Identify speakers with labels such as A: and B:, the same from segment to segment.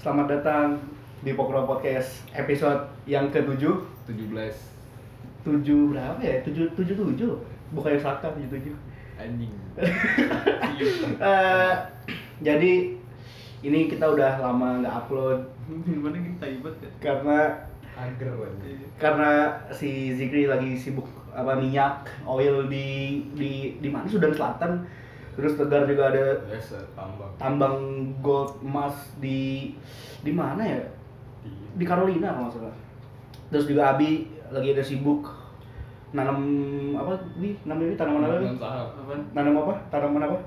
A: selamat datang di Pokro Podcast episode yang ke-7
B: 17
A: 7 berapa ya? 7, 77 Bukan Saka, 77
B: anjing
A: Eh, Jadi ini kita udah lama nggak upload
C: Gimana ini taibat ya?
A: Karena
B: agar banget
C: Iya.
A: karena si Zikri lagi sibuk apa minyak oil di di di mana Sudan Selatan terus Tegar juga ada
B: biasa tambang
A: tambang gold emas di di mana ya di Carolina kalau nggak salah terus juga Abi lagi ada sibuk nanam apa di namanya ini tanaman apa
B: Bukan saham
C: Apaan?
A: nanam apa tanaman apa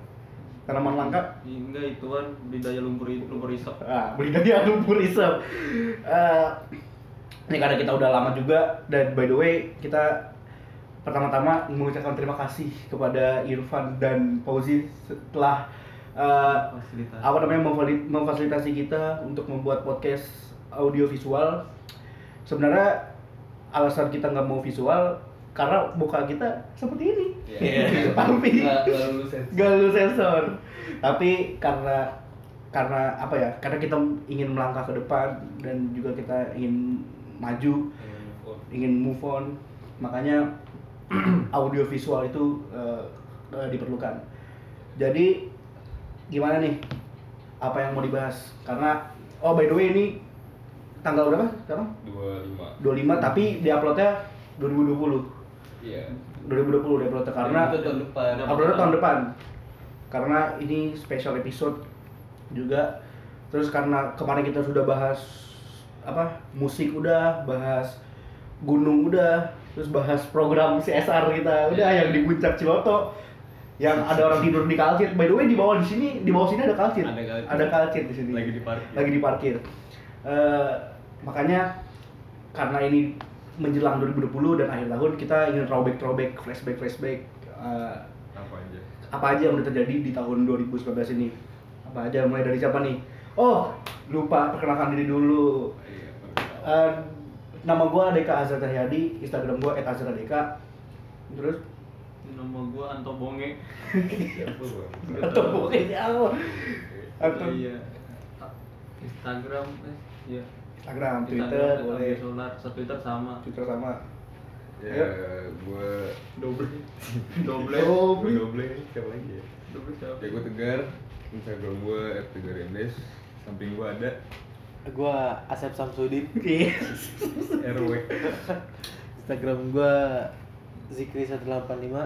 A: tanaman langka
C: Ih, Enggak ituan bidaya lumpur lumpur isap.
A: ah beli dari lumpur isep Eh, ini karena kita udah lama juga dan by the way kita pertama-tama mengucapkan terima kasih kepada Irfan dan Fauzi setelah eh,
C: Fasilitas.
A: apa namanya memvali- memfasilitasi kita untuk membuat podcast audio visual sebenarnya alasan kita nggak mau visual karena muka kita seperti ini Gitu,
B: Iya.
A: tapi
B: Nggak- nggak lulus sense.
A: nggak lulus sensor tapi karena karena apa ya karena kita ingin melangkah ke depan dan juga kita ingin maju ingin move on makanya audio visual itu eh, eh, diperlukan jadi gimana nih apa yang mau dibahas karena oh by the way ini tanggal berapa sekarang
B: 25
A: 25 tapi diuploadnya 2020
B: iya
A: 2020 diuploadnya karena
B: itu tahun depan
C: Iya.
A: uploadnya tahun depan karena ini special episode juga terus karena kemarin kita sudah bahas apa musik udah bahas gunung udah terus bahas program CSR kita udah yang di puncak Ciloto yang ada orang tidur di kalsit by the way di bawah di sini di bawah sini ada kalsit
B: Ada kalsit.
A: ada kalsit di sini
B: lagi di parkir
A: lagi diparkir. Eh, makanya karena ini menjelang 2020 dan akhir tahun kita ingin throwback throwback flashback flashback eh,
B: apa aja
A: apa aja yang udah terjadi di tahun 2019 ini apa aja mulai dari siapa nih oh lupa perkenalkan diri dulu
B: iya
A: Eh, nama gua Deka Azhar Cahyadi instagram gua @azhardeka terus
C: Nama gua Anto Bonge.
B: Siapa gua?
A: atau pokoknya apa? Atau-
C: Iya. Ta- Instagram eh iya.
A: instagram twitter
C: Instagram,
A: boleh
C: Abdi Solar, Sa- Twitter sama.
A: twitter sama
B: ya gue
C: Double. Double.
A: Double.
B: double Iya, siapa lagi ya
C: Double siapa?
B: ya gue tegar instagram gue @tegarendes samping gue ada
D: gua Asep Samsudin
A: Iya.
B: rw
D: Instagram gua Zikri 185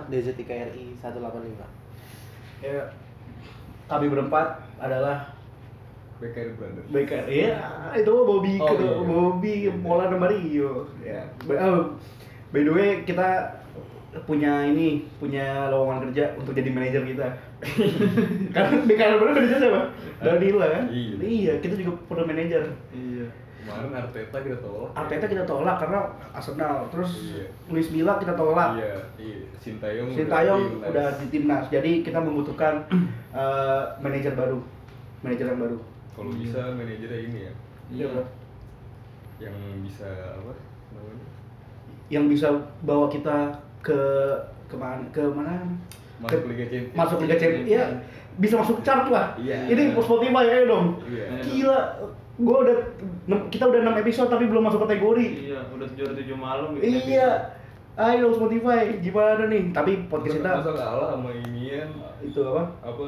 D: DZTKRI 185
A: ya kami berempat adalah
B: BKR brother
A: Baker ya itu mah Bobby
B: Oh,
A: ke-
B: iya.
A: Bobby Mola sama Rio ya by, oh, by the way kita punya ini punya lowongan kerja untuk jadi manajer kita Kan karena Baker bener manajer siapa Danila kan
B: Iya.
A: iya kita juga pernah manajer
C: Iya.
B: kemarin Arteta kita tolak
A: Arteta kita tolak karena Arsenal terus
B: Iya.
A: Luis Milla kita tolak
B: iya iya Sintayong
A: Sintayong
B: udah
A: udah di timnas, jadi kita membutuhkan eh, manajer baru, manajer yang baru.
B: kalau
A: Hmm.
B: bisa manajernya ini ya
C: Iya.
A: Bro.
B: yang bisa apa namanya
A: Yang bisa bawa kita ke ke mana? Ke mana?
B: masuk
A: Ke-
B: Liga Champions
A: masuk Liga Champions. Iya, bisa masuk chart lah.
B: Iya.
A: Ini Spotify ayo ya, dong.
B: iya
C: Iya.
A: Gila, gua udah nem- kita udah 6 episode tapi belum masuk kategori.
C: Iya, udah 707 malam gitu.
A: Iya. Ayo Spotify, gimana nih? Tapi podcast kita
B: masa kalah sama inian
A: itu apa?
B: apa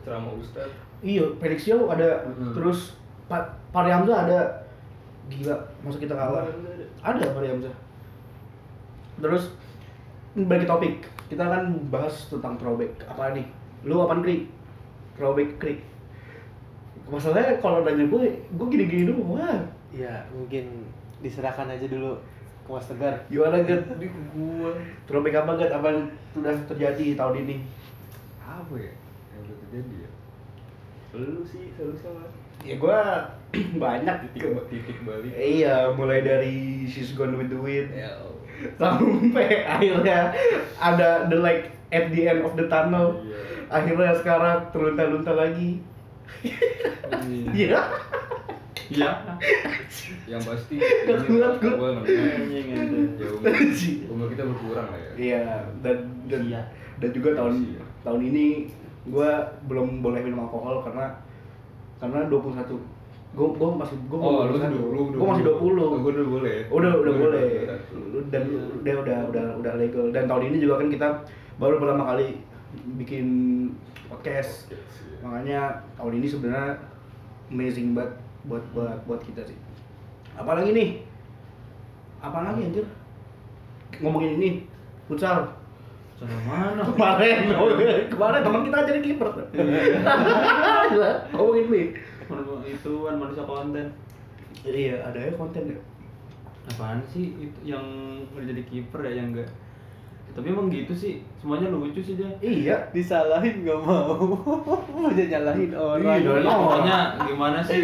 B: ceramah ustad
A: Iya, Felix Yeo ada,
B: Mhm.
A: terus pa Fahri Hamzah ada. Gila, masa kita kalah? Ada Fahri Hamzah. Terus balik ke topik, kita akan bahas tentang throwback. Apa nih? Lu apaan krik? Throwback krik. Masalahnya kalau nanya gue, gue gini-gini dulu, wah
D: ya mungkin diserahkan aja dulu ke Mas Tegar
A: gimana Gat? gue Throwback apa Gat? Apa yang sudah terjadi tahun ini?
B: apa ya yang udah terjadi ya lu sih selalu salah
A: Ya gue banyak gitu.
B: titik ba- titik balik
A: Iya, mulai dari She's Gone With The Wind
B: ya Allah.
A: sampai akhirnya ada the light at the end of the tunnel
B: Iya.
A: akhirnya sekarang terlunta-lunta lagi
C: Iya.
A: iya
C: Iya.
B: yang pasti
A: Gak
B: ini
A: kuat,
B: apa
A: gua.
B: namanya
C: Anjing anjing.
B: ya umur, umur kita berkurang lah ya
A: iya dan dan,
C: Iya.
A: dan juga tahun
B: Iya.
A: tahun ini gue belum boleh minum alkohol karena karena 21 gue gue masih gue
B: Oh, lu kan dulu.
A: gue masih 20
B: Gue dulu boleh.
A: udah udah
B: Gua
A: boleh
B: udah-
A: Lu- dan
B: Iya.
A: lu- udah udah udah udah legal dan tahun ini juga kan kita baru pertama kali bikin podcast
B: Oke, sih.
A: makanya tahun ini sebenarnya amazing banget buat buat buat kita sih apalagi nih apalagi anjir ngomongin ini futsal
C: Sana mana?
A: kemarin
C: Iya.
A: oh, iya. kemarin teman kita jadi kiper ngomongin nih
C: Mana- Ituan kan manusia konten.
A: iya ada ya konten ya
C: Apaan sih itu yang udah jadi kiper ya yang enggak? Tapi emang gitu sih, semuanya lucu sih dia.
A: iya
D: disalahin nggak mau mau nyalahin orang
A: Iya,
C: Iya,
A: Oh.
C: pokoknya gimana sih?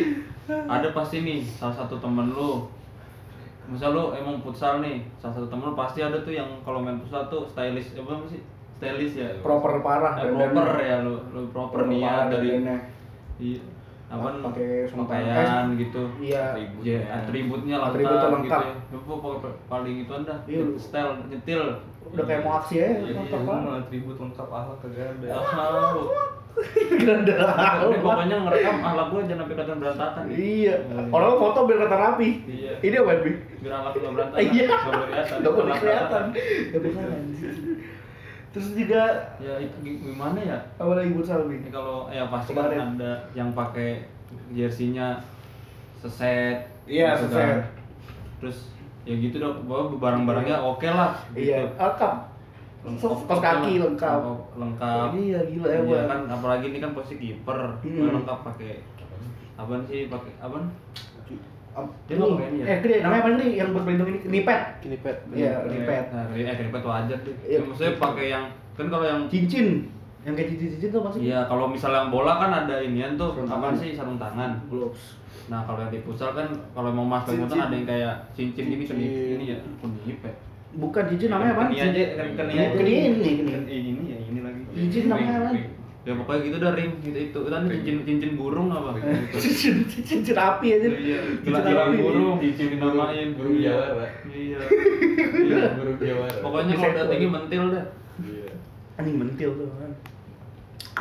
C: Ada pasti nih salah satu temen lu. Misal lu emang futsal nih, salah satu temen lu pasti ada tuh yang kalau main futsal tuh stylish, apa sih? Stylish ya.
A: proper parah
C: Eh,
A: dan-
C: proper ya lu, lu proper nih ya
A: parah
C: dari
A: dandannya.
C: iya apa
A: Pakai semua
C: pakaian gitu.
A: iya
C: Ya, atributnya lengkap,
A: Atributnya
C: gitu
A: lengkap.
C: ya. Lu pokoknya paling itu dah,
A: Iya, lu.
C: style nyetil.
A: udah kayak mau aksi ya
E: Iya, lu mau atribut lengkap ahlak kagak
A: Iya.
E: ada.
C: Ah, lu. Ini
A: Gerendera.
C: pokoknya ngerekam ahlak gua jangan sampai kelihatan berantakan.
A: Iya. Orang foto biar kata rapi.
C: Iya.
A: Ini apa bi?
C: Biar ahlak lu berantakan.
A: Iya. Gak
C: Nggak boleh kelihatan.
A: boleh
C: Ahlak
A: kelihatan. Gak boleh kelihatan. Terus juga
C: Ya itu gi- gimana ya?
A: apa lagi buat Salmi? Iya,
C: Ini kalau ya pasti kan
A: Kemarin.
C: ada yang pakai jersinya seset.
A: Iya,
C: gitu
A: seset.
C: kan. Terus ya gitu dong, bahwa barang-barangnya oke lah.
A: Iya.
C: gitu.
A: Lengkap.
C: Lengkap.
A: Kos kaki lengkap.
C: Lengkap.
A: Iya gila ya
C: Iya
A: buat.
C: kan apalagi ini kan posisi kiper,
A: Hmm.
C: lengkap pakai apa sih pakai apa?
A: Ini,
C: Dia mau ngapain ya?
A: Eh gede. Namanya apa nih yang berpelindung ini? Nipet.
D: Kelipet.
A: Iya. Ripet.
C: Nah, ri- eh ripet wajar tuh.
A: Iya.
C: Ya, maksudnya pakai yang kan kalau yang
A: Cincin. Yang kayak cincin-cincin tuh pasti.
C: Iya, kalau misalnya yang bola kan ada inian tuh,
A: Sarung
C: apa
A: tangan.
C: sih sarung tangan.
A: Gloves.
C: Nah, kalau yang di futsal kan kalau mau mas kemudian
D: Cincin.
C: ada yang kayak cincin ini
D: Cincin.
C: kenip ini ya, kenip ya.
A: Bukan cincin namanya apa? ya,
C: Keni aja, kan keni aja.
A: Keni ini, keni.
C: Keni ini ya, ini lagi.
A: Cincin namanya apa?
B: Ring,
C: Ya pokoknya gitu dah ring gitu itu. Kan
B: Ring.
C: cincin cincin burung apa? Gitu.
A: cincin cincin api aja
C: Iya,
A: cincin
C: cincin
A: api
C: burung, cincin dinamain
E: burung
C: Iya.
E: jawara. Iya,
C: Iya. Iya.
E: burung jawara.
C: Pokoknya kalau udah tinggi mentil dah.
B: Iya.
A: anjing mentil tuh kan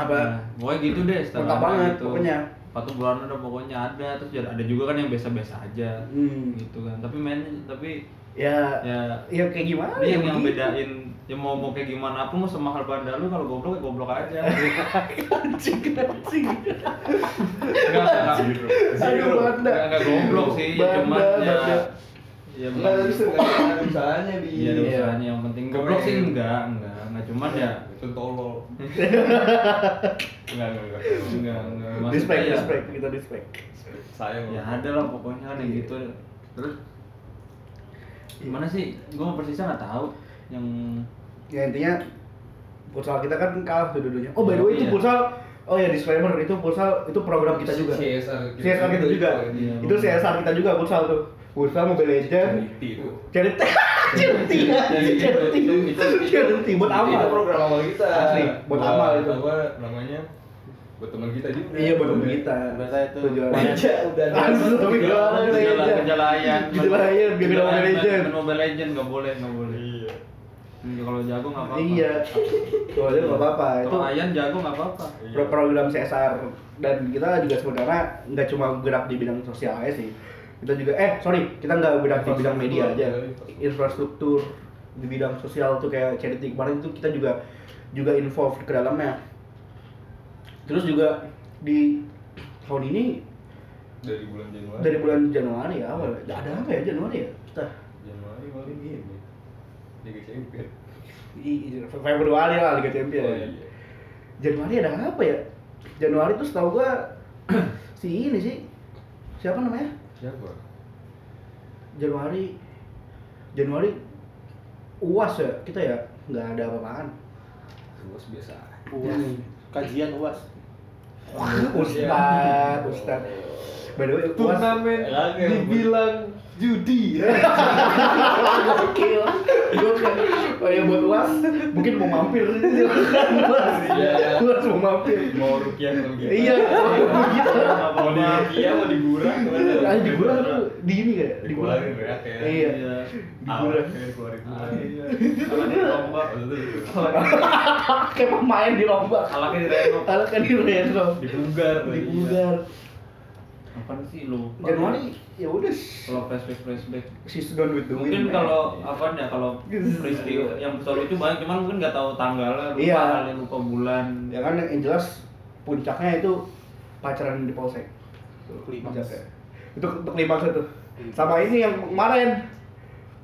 A: apa
C: Nah, gitu. pokoknya gitu deh, setelah
A: Lengkap
C: ada
A: banget, pokoknya.
C: Sepatu bulanan udah pokoknya ada, terus ada ada juga kan yang biasa-biasa aja.
A: Hmm.
C: Gitu kan. Tapi mainnya tapi
A: ya ya,
C: ya
A: kayak gimana
C: ini yang, yang
A: iya, begitu.
C: bedain ya mau mau kayak gimana pun mau semahal bandar lu kalau goblok ya goblok aja. Enggak,
A: anjing anjing
C: enggak.
E: Iya,
A: aduh banda
C: Enggak enggak goblok sih, ya
A: Bandar,
C: cuman ya
A: bandar.
C: ya
E: Enggak
C: bukan-
E: bisa enggak Iya, ada usahanya di.
C: Iya, ada
A: Iya.
C: usahanya yang penting goblok sih enggak, enggak, enggak cuman ya
E: Itu tolol.
C: enggak enggak enggak. enggak enggak. Maksudnya
A: dispek
C: ya-
A: dispek kita dispek
E: Sayang.
C: Ya
E: loh.
C: ada lah pokoknya kan yang gitu. Terus gimana sih? Gua persisnya nggak tahu yang
A: ya intinya futsal kita kan kalah tuh dulunya oh by the way itu
C: Iya.
A: futsal oh ya disclaimer itu futsal itu program kita juga
E: CSR kita
A: CSR kita juga
C: gitu. Iya,
A: itu
C: bener.
A: CSR kita juga futsal tuh futsal mobile legend
E: Charity itu.
A: charity charity charity charity buat
E: Itu
A: apa
E: program awal kita.
A: Asli, buat amal itu.
E: Apa namanya? Buat teman kita juga. Nah,
A: Iya buat temen kita.
D: Berasa itu
A: Tujuan.
E: Aja Iya, udah
A: Langsung
E: ada.
A: jualan
C: gejala
A: aja.
C: gejala layan.
A: Gejala layan, biar beda iya, Mobile Legends.
C: Main Mobile iya. Legend nggak boleh, nggak boleh.
E: Iya.
C: Hmm, Kalau jago nggak apa-apa.
A: Iya. Soalnya nggak apa-apa. Itu
C: Kalau Ayan jago nggak apa-apa.
E: Iya.
A: pro- program CSR dan kita juga sebenarnya nggak cuma gerak di bidang sosial aja sih. Kita juga eh sorry kita nggak gerak di bidang media aja. Infrastruktur di bidang sosial tuh kayak charity kemarin itu kita juga juga involved ke dalamnya. Terus juga di tahun ini
E: Dari bulan Januari.
A: dari bulan Januari ya awal ada apa ya Januari ya kita
E: Januari paling ini. Liga Champion.
A: I- i- Februari lah Liga Champions. ya.
E: Oh, iya.
A: Januari ada apa ya? Januari tuh setahu gua si ini sih siapa namanya?
E: Siapa?
A: Januari Januari uas ya kita ya nggak ada apa-apaan.
E: Terus biasa.
D: uas kajian uas
E: Iya.
A: Ustad, Ustad. By the way, uas
E: Oh. dibilang
A: judi. Gokil. Gokil. Oh ya buat uas mungkin mau mampir. Uas,
E: Iya.
A: uas mau mampir.
E: mau rukiah sama kita.
A: Iya, mau gitu.
E: Mau di rukiah mau digurah kemana?
A: Ah, di gula tuh di ini kayak di gula.
E: Dikeluarin ya kayak.
A: Iya.
C: Iya.
A: Digurah.
E: Awet, kayak dikeluarin.
C: Ah, Iya. Kalau di tombak,
E: Maksudnya digurah.
A: Kayak pemain di lomba.
C: alaknya di iya.
E: iya.
C: renov.
A: Kalau kan di Reno
E: Dibugar.
A: di Bulgar.
C: Apaan sih lu?
A: Januari ya udah
C: Kalau flashback flashback.
A: she's done with the
C: Mungkin
A: wind,
C: kalau apa ya kalau peristiwa yang soal lucu banyak, cuman mungkin nggak tahu tanggalnya, lupa
A: Iya.
C: halnya, lupa bulan.
A: ya kan yang jelas puncaknya itu pacaran di polsek Itu
D: Klimaks.
A: puncaknya. itu untuk klimaks itu sama ini yang kemarin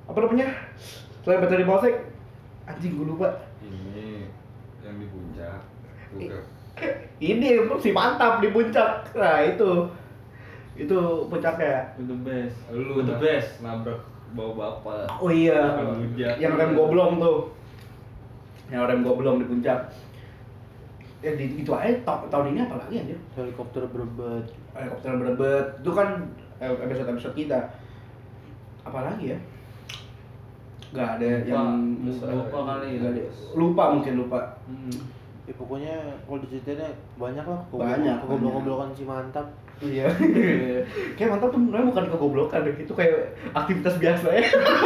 A: apa namanya selain pacaran di polsek anjing gue lupa
E: ini yang di puncak tuh
A: Eh.
E: ke
A: ini si mantap di puncak nah itu itu puncaknya
C: Itu best.
E: lu
C: Itu
E: na-
C: best.
E: nabrak bawa bapak
A: oh iya
E: Puncak.
A: yang rem goblong tuh yang rem goblong di puncak ya di, itu aja ta- tahun ini apa lagi anjir
D: helikopter berbet
A: helikopter berebet itu kan episode episode kita apalagi ya nggak ada yang
C: lupa, lupa kali ya.
A: nggak ada- lupa mungkin lupa
C: Hmm.
D: ya pokoknya kalau diceritain banyak lah
A: Banyak,
D: goblok-goblokan si mantap
A: iya kayak mantap tuh sebenarnya bukan kegoblokan deh itu kayak aktivitas biasa ya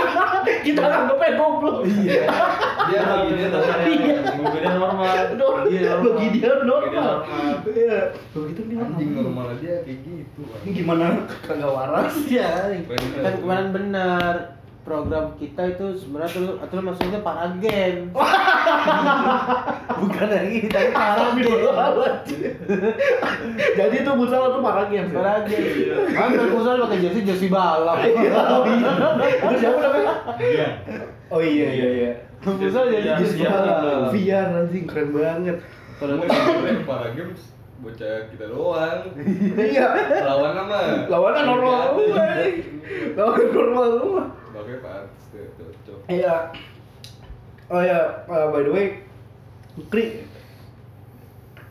A: kita anggapnya goblok iya
E: dia lagi dia tuh
C: Iya. Mobilnya normal. Iya, normal.
A: bagi dia
C: Bagi dia
A: normal
C: normal.
A: iya begitu dia
E: anjing normal aja kayak gitu
A: Ini gimana kagak waras ya
D: kan kemarin benar program kita itu sebenarnya tuh atau maksudnya para game bukan lagi tapi para game
A: Jadi itu butsal tuh parah games.
D: para game kan kalau pakai jersey jersey balap
A: Iya. Itu siapa namanya?
C: Iya.
A: Oh iya iya iya.
D: Futsal jadi
C: Iya,
D: jersey
C: iya.
D: balap
A: VR anjing keren banget.
E: terus yang para games bocah kita doang
A: Iya.
E: lawan nama
A: Lawannya kan normal semua. anjing. Lawannya kan normal semua.
E: pakai pak tuh cocok
A: Iya. Oh ya, uh, by the way, Kri,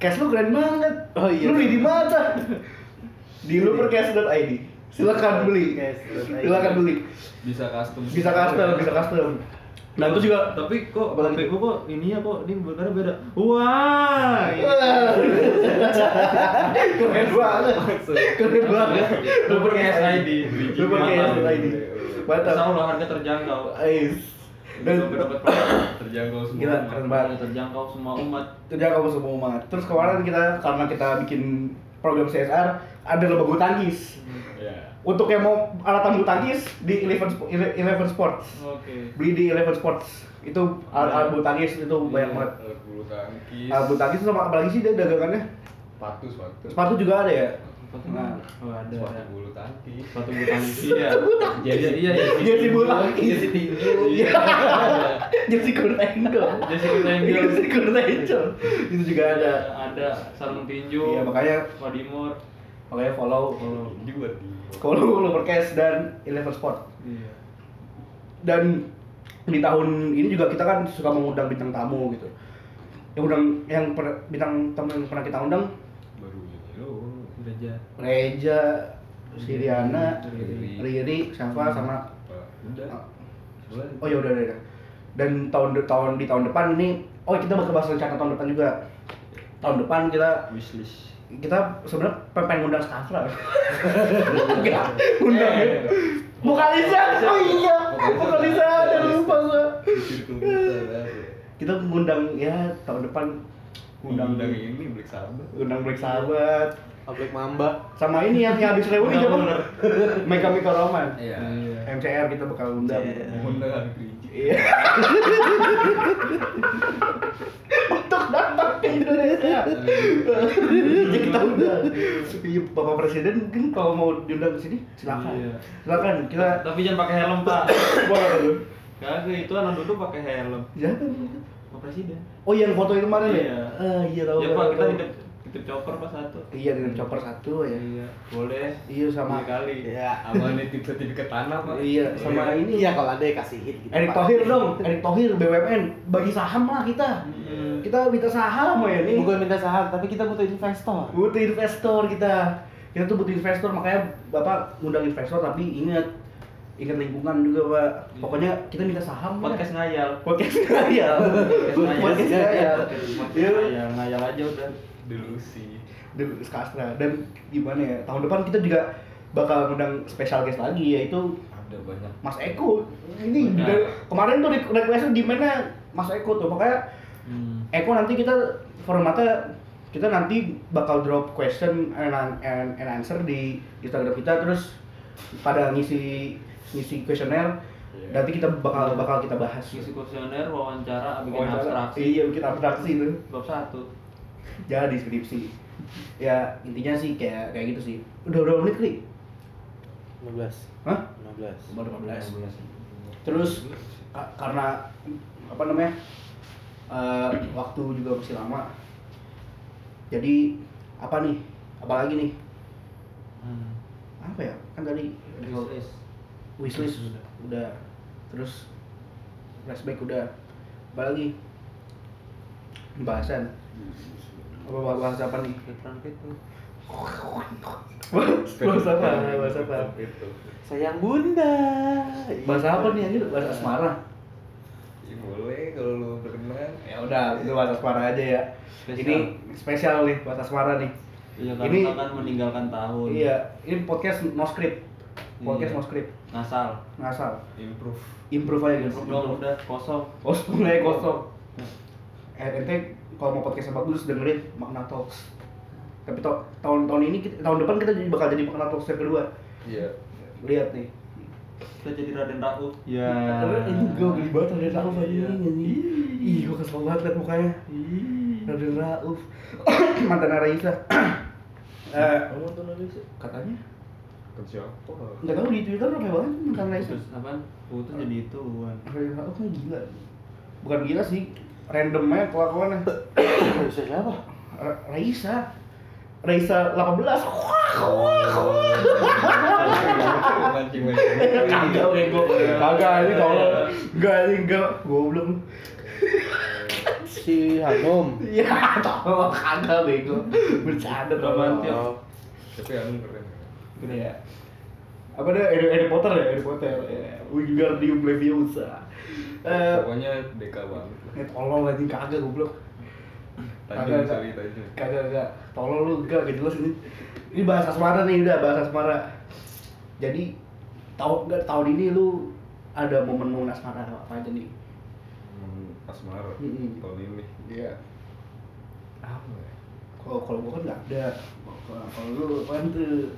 A: cash lu keren banget.
D: Oh, iya.
A: Lu beli di mana? Di lupercash.id. Silakan beli.
D: Cash.id.
A: Silakan kan beli.
E: bisa custom
A: Bisa custom, bisa custom. Nah, itu juga
C: tapi kok
A: Apalagi
C: HP gua kok ini ya kok ini berbeda beda. Wah.
A: keren banget keren banget
C: Luper
A: pakai
C: SID.
A: lu pakai SID mantap
C: Insya Allah harga terjangkau.
A: Ais. dan
C: Dan dapat produk
E: terjangkau semua
A: Gila, keren
C: harga
A: banget
C: terjangkau semua umat.
A: kerja kamu semua umat terus kemarin kita karena kita bikin program CSR ada lomba bulu tangkis
E: ya
A: untuk yang mau alat bulu tangkis di Eleven Sp- Ele- Eleven Sports
C: Oke.
A: beli di Eleven Sports itu alat alat bulu tangkis itu
C: Iya.
A: banyak banget
E: alat Eh, bulu tangkis
A: alat Ah, bulu tangkis sama apalagi sih dia dagangannya
E: sepatu sepatu
A: sepatu juga ada ya
C: Nah, oh, ada.
E: sepatu bulu tangkis
C: Sepatu bulu tangkis. Iya. Jadi iya
A: jersey bulu
E: jadi
A: tangkis
E: tinju
A: Iya. jersey kuda angle Iya,
C: Jersey kuda angle.
A: jersey kuda angle itu juga ada
C: Ada sarung tinju.
A: iya makanya
C: Wadimor.
A: makanya follow
C: Kalau
E: tinju buat di
A: follow Lupercash dan Eleven Sport
C: iya.
A: dan di tahun ini juga kita kan suka mengundang bintang tamu gitu yang undang yang per- bintang tamu yang pernah kita undang
E: baru ini Oh. lo
C: Gereja.
A: Reja Siriana
E: Riri.
A: Riri siapa sama
E: Pak. udah Ah. Boleh.
A: oh ya udah udah udah. dan tahun de- tahun di tahun depan ini oh kita bakal bahas rencana tahun depan juga tahun depan kita
E: iya. wishlist
A: kita sebenarnya pe- pengen ngundang Stafra enggak undang
E: Eh.
A: vokalisa oh iya vokalisa ada lupa gua
E: Circle kita ada.
A: kita ngundang ya tahun depan ngundang
E: undang ini beli sabar
A: ngundang Black Sahabat
D: Ablek Mamba
A: sama ini yang yang habis reuni
C: Undang
A: siapa
C: Ular.
A: Mega Mega Roman
E: iya
A: MCR kita bakal undang
C: Iya.
E: undang kelinci
A: iya untuk datang ke Indonesia Jadi kita undang Iya, Bapak Presiden mungkin kalau mau diundang ke sini silakan
C: Iya.
A: silakan kita
C: Tapi jangan pakai helm, Pak.
A: boleh dulu
C: Kagak itu anak duduk pakai helm.
A: Jangan.
C: Pak
A: Ya.
C: Presiden.
A: oh yang foto itu kemarin ya
C: Iya.
A: Ah, iya tahu
C: Ya
A: tahu,
C: Pak, kita
A: tahu.
C: hidup hidup chopper Pak satu.
A: iya dengan chopper satu ya
C: Iya, boleh.
A: iya sama
C: Tiga kali.
D: ya
E: sama nitip sertifikat tanah pak
A: iya sama
D: ini
A: ini
D: ya kalau ada ya kasihin gitu Pak.
A: Erick Thohir dong, Erick Thohir BUMN bagi saham lah kita.
C: Hmm.
A: Kita minta saham ya ini.
D: bukan minta saham tapi kita butuh investor
A: Butuh investor kita. Kita tuh butuh investor makanya Bapak ngundang investor tapi ingat ingat lingkungan juga Pak. Pokoknya kita minta saham lah.
C: Podcast ngayal.
A: podcast ngayal. Podcast ngayal.
C: Podcast
A: Iya.
C: ngayal. Ngayal aja udah.
E: delusi
A: Dan Skastra dan gimana ya? Tahun depan kita juga bakal ngundang special guest lagi yaitu
E: ada banyak
A: Mas Eko. Ini
C: Benar.
A: udah- kemarin tuh request di mana Mas Eko tuh makanya
C: Hmm.
A: Eko nanti kita formatnya kita nanti bakal drop question and, and, and answer di Instagram kita terus pada ngisi ngisi kuesioner
E: Iya.
A: nanti kita bakal bakal kita bahas
C: Isi kuesioner, wawancara, bikin
A: Wawancara.
C: abstraksi.
A: iya bikin abstraksi itu
C: Bab satu.
A: jadi skripsi ya intinya sih kayak kayak gitu sih udah berapa menit kali
D: 15
A: Hah?
D: 15
A: baru 15 terus ka- karena apa namanya eh, waktu juga masih lama jadi apa nih apalagi nih
C: Hmm.
A: apa ya kan tadi
C: Wishlist.
A: wishlist udah. terus flashback udah apalagi pembahasan apa bahas apa nih
C: Veteran itu.
A: bahas apa bahas apa
E: Itu.
D: Sayang bunda
A: bahas apa nih anjir bahas asmara
E: Ya, boleh kalau lu berkenan.
A: ya udah itu bahas asmara aja ya
C: Spesial.
A: ini spesial nih bahas asmara nih
C: Iya, karena
A: Ini-
C: kita kan meninggalkan tahun.
A: Iya, ini podcast no script. Podcast
C: Iya.
A: no script,
C: Nasal.
A: ngasal.
E: Improve.
A: Improve aja guys.
C: Improve dong, udah kosong.
A: Kosong aja kosong. Eh, ente kalau mau podcast yang bagus dengerin Makna Talks. Tapi to- tahun-tahun ini kita- tahun depan kita jadi- bakal jadi Makna Talks yang kedua.
E: Iya.
A: Lihat nih.
C: Kita jadi Raden Rauf.
A: Iya.
B: Ya.
A: eh, Ini gue geli banget Raden Rauf aja ini. Iya, Ih, gue kesel banget liat mukanya. Raden Rauf. Mantan Raisa. Eh,
E: Kamu nonton ada sih?
A: katanya
E: Nonton siapa?
A: nggak tahu di Twitter ramai banget mantan Raisa.
C: Terus apaan? Putus jadi itu. Wan.
A: Ray Rauf kan gila bukan gila sih randomnya kelakuannya
D: Bisa siapa?
A: Ra- Raisa Raisa 18
E: Mancing mancing.
A: kagak bego Iya. kagak ini kalau enggak ini enggak goblok
D: Si Hanum
A: iya tolong kagak bego bercanda
C: Apaan, Tio?
A: tolong
E: Tapi anu keren.
A: gede ya apa deh Harry Harry Potter ya Harry Potter ya Wingardium Leviosa eh
E: Pokoknya deka banget.
A: ya tolong lagi kagak goblok
E: Tajam
A: Kagak,
E: sekali
A: kagak.
E: tajam.
A: kagak kagak tolong lu enggak gitu loh ini ini bahasa asmara nih udah bahasa asmara jadi tahun enggak tahun ini lu ada momen-momen asmara apa aja nih
E: Hmm, Asmara
A: Mm-mm.
E: tahun ini.
A: iya apa ya? kalau kalau gua kan nggak ada kalau kalau lu apaan tuh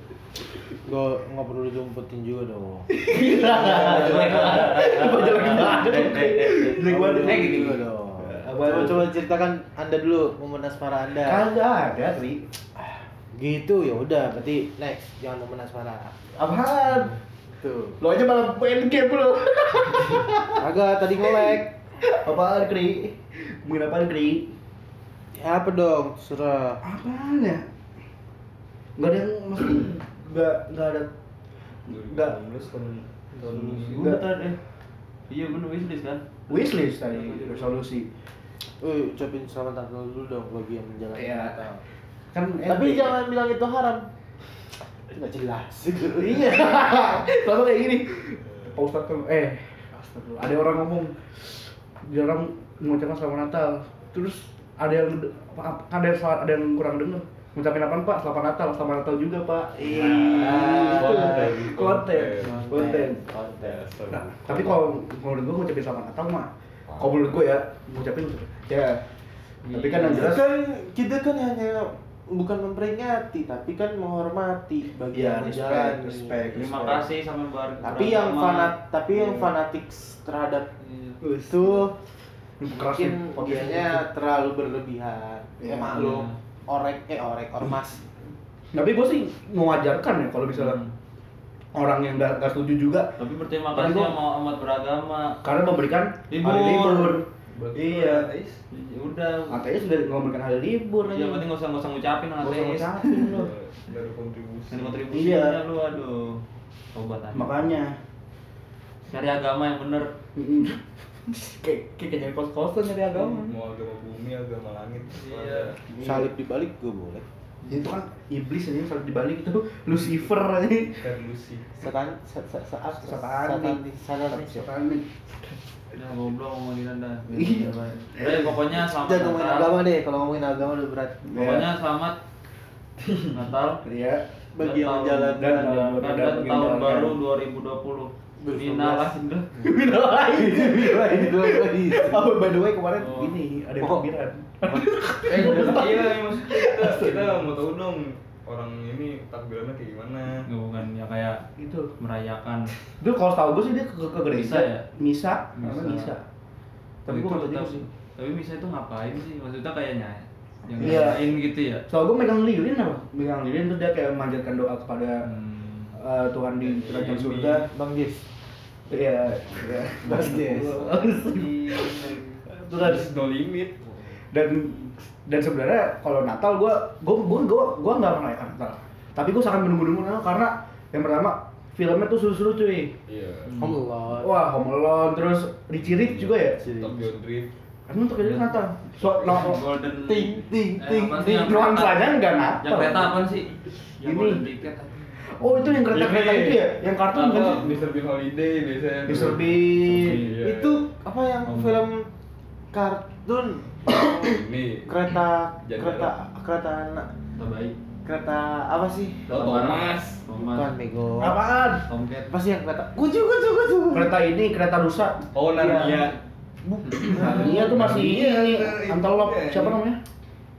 D: Gak, nggak perlu jumpetin juga dong
A: jelek banget jelek banget jelek banget
D: Nggak perlu
A: eh
D: juga dong
A: Apa?
D: Coba, coba ceritakan anda dulu momen asmara anda
A: kagak ada sih
D: Gitu ya udah berarti next jangan momen asmara
A: apaan
D: Tuh
A: lu aja malah main game lu
D: Agak tadi ngolek
A: apaan kri mungkin apaan kri
D: Ya apa dong surah
A: apaan ya nggak ada yang maksudnya nggak nggak ada nggak
E: 2019 tahun tahun ini.
A: Enggak.
C: Udah tadi. Iya bener wishlist kan?
A: wishlist tadi resolusi
D: Eh, ucapin selamat Natal dulu dong bagi yang menjalankan
A: Iya.
D: Natal.
A: kan
D: Tapi
A: enak.
D: jangan bilang itu haram. Itu nggak jelas.
A: iya selalu kayak gini Pak Ustadz kan eh astagfirullah. ada orang ngomong jarang mengucapkan selamat Natal terus ada yang apa- kan ada yang salah- ada yang kurang dengar ngucapin apa pak selamat Natal selamat Natal juga pak iya
E: konten.
A: konten konten
D: Konten.
A: Nah, tapi kalau kalau menurut gue ngucapin selamat Natal mah kalau menurut gue ya ngucapin ya tapi kan yang
D: Kita
C: Iya.
A: jelas
D: kan kita kan hanya bukan memperingati tapi kan menghormati bagi
A: ya
D: yang
A: respect
D: menjalani.
A: respect
C: Iya. Eh, Terima
A: respect.
C: kasih sama bar.
D: Tapi yang fanat tapi yang
A: Iya.
D: fanatik terhadap
C: Iya.
A: Wis.
D: itu
A: keras
D: mungkin
A: nih, podcast ini.
D: dianya terlalu berlebihan. Ya
A: Iya.
D: maklum. Orek eh orek ormas.
A: tapi gue sih mewajarkan ya kalau misalnya
C: Hmm.
A: orang yang gak, nggak setuju juga
C: Tapi berterima
A: Tapi
C: kasih
A: gua-
C: sama umat beragama.
A: karena memberikan hari
C: Libur.
A: libur
E: Berarti
A: iya
E: ateis.
C: Ya Udah.
A: ateis sudah memberikan hari libur
C: Yang penting nggak usah nggak usah ngucapin
A: Nggak usah
C: Iya, ateis.
A: ngucapin lu.
E: Nggak ada kontribusi.
C: Dan kontribusinya
A: Iya.
C: lu aduh. Tobat aja.
A: makanya
C: Cari agama yang bener.
A: Mm-mm. kayak kayak kejadian kos-kosan nyari agama
C: Hmm.
E: Mau agama bumi, agama langit.
C: Iya.
D: Salib dibalik gue boleh.
A: itu kan iblis aja saat dibalik itu Lucifer aja
E: Kan Lucy.
D: Setan sa- sa- saat
A: Satanik.
D: satanik.
A: Satanik.
C: Udah goblok ngomongin anda.
A: Iya.
C: Udah pokoknya selamat
D: Jangan ngomongin
C: Natal.
D: agama deh, kalau ngomongin agama udah berat.
A: Ya.
C: Pokoknya selamat Natal.
A: Iya.
D: bagi yang
C: Dan
D: jalan
A: dan
D: dan
A: tahun-
C: dan
A: dan
C: tahun
A: menjalankan.
C: baru 2020
D: Bersama.
C: binalah indah
A: Bina lain.
D: lain.
A: Oh, by the way kemarin
C: Iya. Oh.
A: ini ada yang
D: Oh.
A: kepikiran.
E: Eh, udah- iya, maksudnya kita, kita mau tahu dong orang ini takbirannya kayak gimana.
C: bukan ya kayak
A: Itu.
C: merayakan
A: Itu Gitu. kalau tahu gue sih dia ke, ke gereja.
C: Misa ya?
A: Misa,
C: Misa. Oh,
A: namanya Misa. Tapi
C: itu
A: gue nggak tahu
C: tapi,
A: sih.
C: tapi misa itu ngapain sih maksudnya kayak nyay yang
A: Iya.
C: nyanyain gitu ya
A: Soalnya gue megang lilin apa? Megang lilin terus dia kayak memanjatkan doa kepada
C: Hmm.
A: eh, Tuhan di kerajaan
E: Iya,
A: surga.
D: Bang Jis.
A: Iya. iya.
D: Bang Jis.
A: Itu kan.
E: Iya. no limit.
A: dan dan sebenarnya kalau Natal gue gue gue gue gue nggak merayakan Natal tapi gue sangat menunggu-nunggu Natal karena yang pertama filmnya tuh seru-seru cuy
E: Iya.
D: Allah.
A: wah Home Alone terus Richie Rich juga ya
E: Top Gun Drift.
A: emang untuk itu Natal so no, no,
C: golden
D: Ting, ting,
C: Eh,
D: ting,
C: apa sih
D: ting.
C: yang
A: nuansanya
C: kereta?
A: nggak
C: yang
A: Natal
C: kereta apa sih yang
A: Ini.
C: golden ticket
A: oh itu yang kereta-kereta
E: Ini.
A: itu ya yang kartun
E: Iya, Apa?
A: kan
E: Mr. Bean Holiday biasanya. tuh.
A: Mr. Bean
E: Iya.
D: Itu apa yang
C: Allah.
D: film kartun
E: ini.
D: kereta
E: Jadi
D: kereta kereta anak
C: terbaik
D: kereta apa sih?
E: Oh, Thomas.
C: Thomas
D: Bukan bego.
A: apaan
C: Tomcat
D: Apa sih yang kereta? Kucu kucu kucu.
A: kereta ini kereta rusak
E: Oh,
D: Iya.
E: Narnia.
D: Bukan.
A: Iya tuh masih ini antelop
E: Iya.
A: siapa namanya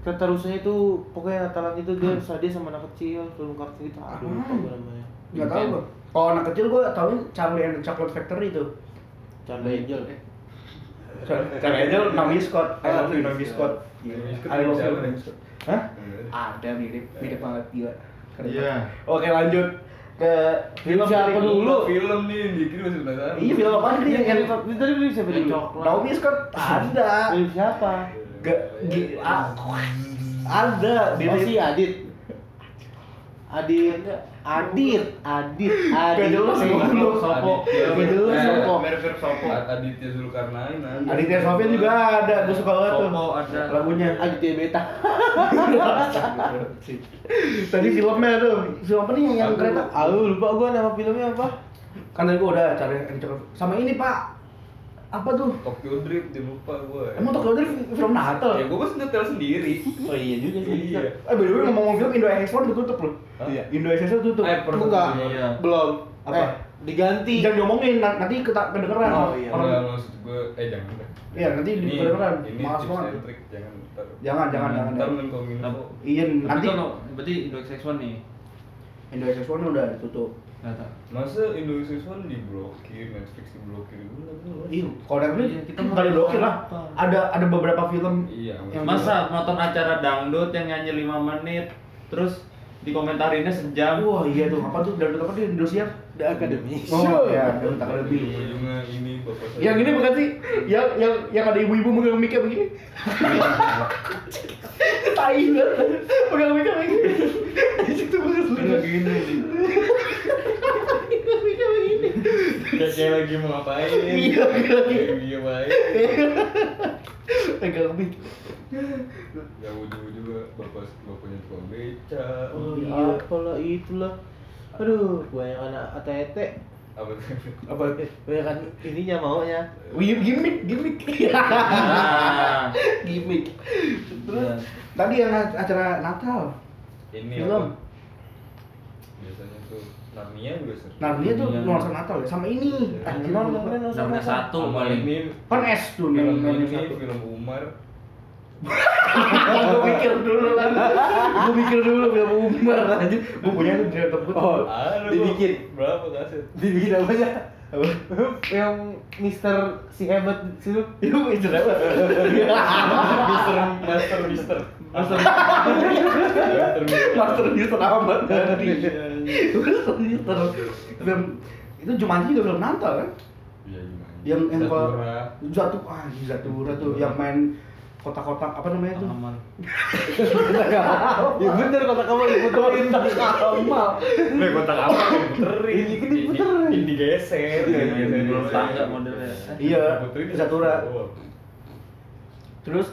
D: Kereta rusaknya itu pokoknya Natalan itu dia sadis sama anak kecil film kartun itu. Aduh, lupa gue namanya.
A: nggak tahu gue kalau anak kecil gue tahu Charlie and the Chocolate Factory tuh
D: Charlie Angel.
C: eh.
A: Cara aja Naomi Scott, I love you Naomi Scott.
E: Naomi Scott
A: I love you
E: bisa,
A: Naomi Scott. Hah?
E: Iya.
A: Ada mirip, mirip banget gila. Keren
C: Iya.
A: banget. Oke lanjut ke film
D: Siapa
A: dari-
D: dulu?
E: Film nih, yang bikin masih penasaran.
A: Iya film apa nih?
D: Yang
A: Yang
D: tadi tadi beli siapa di coklat?
A: Naomi Scott ada.
D: Beli siapa?
A: Gak, gi- ah,
D: Oh
A: ada. Mirip.
D: si Adit. Adit, Adit, Adit, Adit.
A: Gak jelas
D: Sopo,
A: lu.
D: Sopo.
E: Aditya.
D: Gak jelas
E: Eh,
D: Sopo.
C: Merver Sopo
E: Aditya Zulkarnain. ada.
A: Aditya Sofian juga ada, gue suka banget tuh
C: Sopo ada.
A: lagunya.
D: Aditya Beta.
A: Tadi filmnya tuh, Gitu. film apa nih yang- yang
E: Aku-
A: kereta?
D: Aduh lupa gua nama filmnya apa?
A: Kan tadi gue udah cari yang cakep. Sama ini pak, apa tuh?
E: Tokyo Drift, dia lupa gue.
A: Emang Tokyo Drift film Natal?
E: Ya gue pasti nyetel sendiri.
A: Oh iya juga
E: sih.
A: Iya. Eh by the way ngomong film Indo Explore udah tutup loh.
E: Hah?
A: Iya. Indo Explore tutup.
E: Eh, per-
D: Bukan.
C: Iya.
D: Belum.
A: Apa?
D: Eh, diganti.
A: Jangan diomongin na- nanti kita kedengeran.
D: Oh, iya.
A: Orang-
E: Enggak maksud gue, eh jangan.
A: Iya, nanti
E: ini,
A: kedengeran.
E: Ini
A: Maaf
E: tips
A: banget.
E: dan trik, jangan ntar.
A: Jangan, jangan, jangan.
E: Ntar
A: jangan.
E: menkom info.
A: Iya,
C: tapi
A: nanti
C: kalau berarti Indo XX1 nih
A: Indo Explore udah ditutup.
C: data
E: Masa Indonesia One diblokir, Netflix diblokir gue nggak jelas.
A: Iya, kalau dari
C: Iya,
A: ini
C: kita mau
A: kali blokir lah.
C: apa?
A: Ada ada beberapa film
E: Iya.
A: Yang
C: masa nonton acara dangdut yang nyanyi 5 menit terus dikomentarinnya sejam
A: Wah, iya tuh. Apa tuh? Dari apa tuh Indonesia?
D: The Academy.
A: Oh, iya, dari tak lebih.
E: Ujung-ujungnya ini bapak saya.
A: Yang ini bukan sih? Yang yang yang ada ibu-ibu megang mic begini. Tai banget. Pegang mic begini. Anjing tuh bagus lu.
E: Ini gini nih. Kayak kayak lagi mau ngapain?
A: Iya, lagi.
E: Iya baik.
A: Pegang mic.
E: Ya ujung-ujungnya bapak bapaknya tukang beca.
D: Oh iya, apalah itulah. Aduh, banyak anak ATT.
E: Apa tuh?
A: Apa?
D: Banyak kan ininya maunya.
A: Wih, iya. gimmick, gimmick.
C: Nah,
A: gimmick. Terus tadi yang acara Natal.
E: Ini
A: Film.
E: apa? Biasanya tuh Narnia juga sering.
A: Narnia Nah, tuh
C: Iya.
A: nuansa Natal ya sama ini.
E: Iya.
A: Anjir,
D: Emang
A: lupa.
D: kemarin langsung
C: Narnia
D: masak.
C: satu
E: Sama
C: paling
E: ini
A: Kan S tuh
E: film
A: Narnia
E: ini
A: satu.
E: film Umar
A: gue mikir dulu lah gue mikir dulu film Umar anjir gue punya tuh di laptop gue
D: Oh.
E: Aduh,
D: Dibikin.
E: berapa kaset?
D: Dibikin apa aja?
A: Apa?
D: yang Mister si hebat situ
A: itu itu Iya, apa
E: Mister Master Mister Master
A: master Mister amat nanti
E: Iya,
A: master Mister film itu Jumanji juga film Natal kan
E: Iya gimana?
A: yang yang kalau
E: Sakura.
A: Zatu ah Zatura tuh yang main kotak-kotak apa namanya tuh
C: aman
D: ya bener kata kamu diputerin
A: Kamal
E: Nih kotak apa? Puterin.
D: Ini kan gini puterin.
E: Ini
D: Iya,
E: digeser. digeser,
C: Belum
E: digeser.
C: tangga modelnya.
A: Iya,
E: Puterin di
A: Sakura.
E: bawah.
A: terus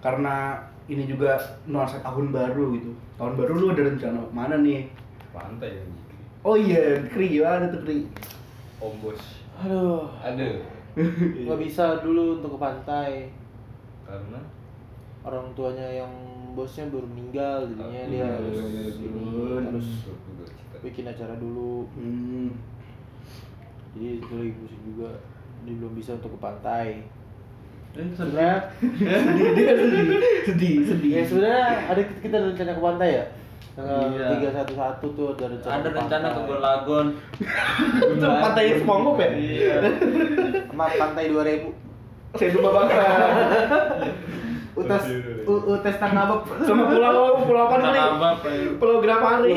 A: karena ini juga nuansa tahun baru gitu tahun baru lu ada rencana mana nih
E: Pantai yang gini.
A: oh iya kri gimana tuh kri
E: Ombos.
D: aduh
E: Ada.
D: nggak bisa dulu untuk ke pantai
E: Karena
D: orang tuanya yang bosnya baru meninggal jadinya dia
B: Iya,
D: harus
B: iya, iya,
D: ini,
A: iya.
D: harus
B: Juga cita.
D: bikin acara dulu
A: Hmm.
D: jadi itu lagi pusing juga dia belum bisa untuk ke pantai
C: Dan sebenarnya
D: sebenarnya
A: sedih dia sedih sedih sedih
D: ya sebenarnya ada kita ada rencana ke pantai ya
C: Iya.
D: tanggal tiga satu satu tuh ada rencana
C: ada
D: ke
C: rencana ke
D: pantai.
C: Golagon.
A: Itu pantainya SpongeBob ya
C: Iya.
D: sama pantai dua ribu
A: saya dulu bakar
D: utas u- utes tangkabep
A: sama pulau pulau apa
C: Tanah
A: namanya
C: Abang, Pak.
A: pulau Grapari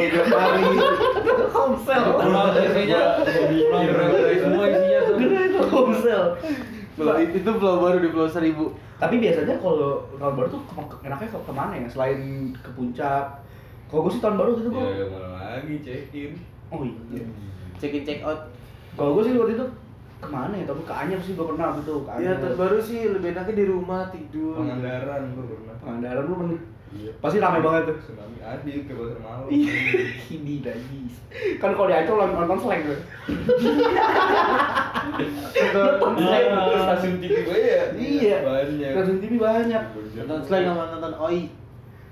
A: Komsel
C: Pulau isinya pulau berapa semua isinya tuh.
A: Komsel
D: Pulau- itu pulau baru di pulau seribu
A: tapi biasanya kalau tahun baru tuh ke- ke- enaknya ke kemana ya selain ke puncak kalau gue sih tahun baru waktu itu
E: Ya
A: gue
E: ya mana lagi check in.
A: oh iya
D: check in check out
A: kalau gue sih waktu itu kemana ya tapi ke Anyar sih gue pernah waktu itu ke
C: Iya,
D: ya
A: Anyar
D: terbaru sih lebih enaknya di rumah tidur
E: Pangandaran gua pernah.
A: Pangandaran Nah, lu pernah
E: Iya.
A: pasti ramai banget tuh
E: Tsunami adil ke pasar malam.
A: Iya. ini lagi kan kalau di Ancol nonton slang tuh
D: nonton
E: Iya.
D: slang
E: Terus stasiun TV gue ya.
A: Iya.
E: Banyak. Iya,
A: Stasiun TV banyak.
C: Nah,
D: nonton slang sama nonton oi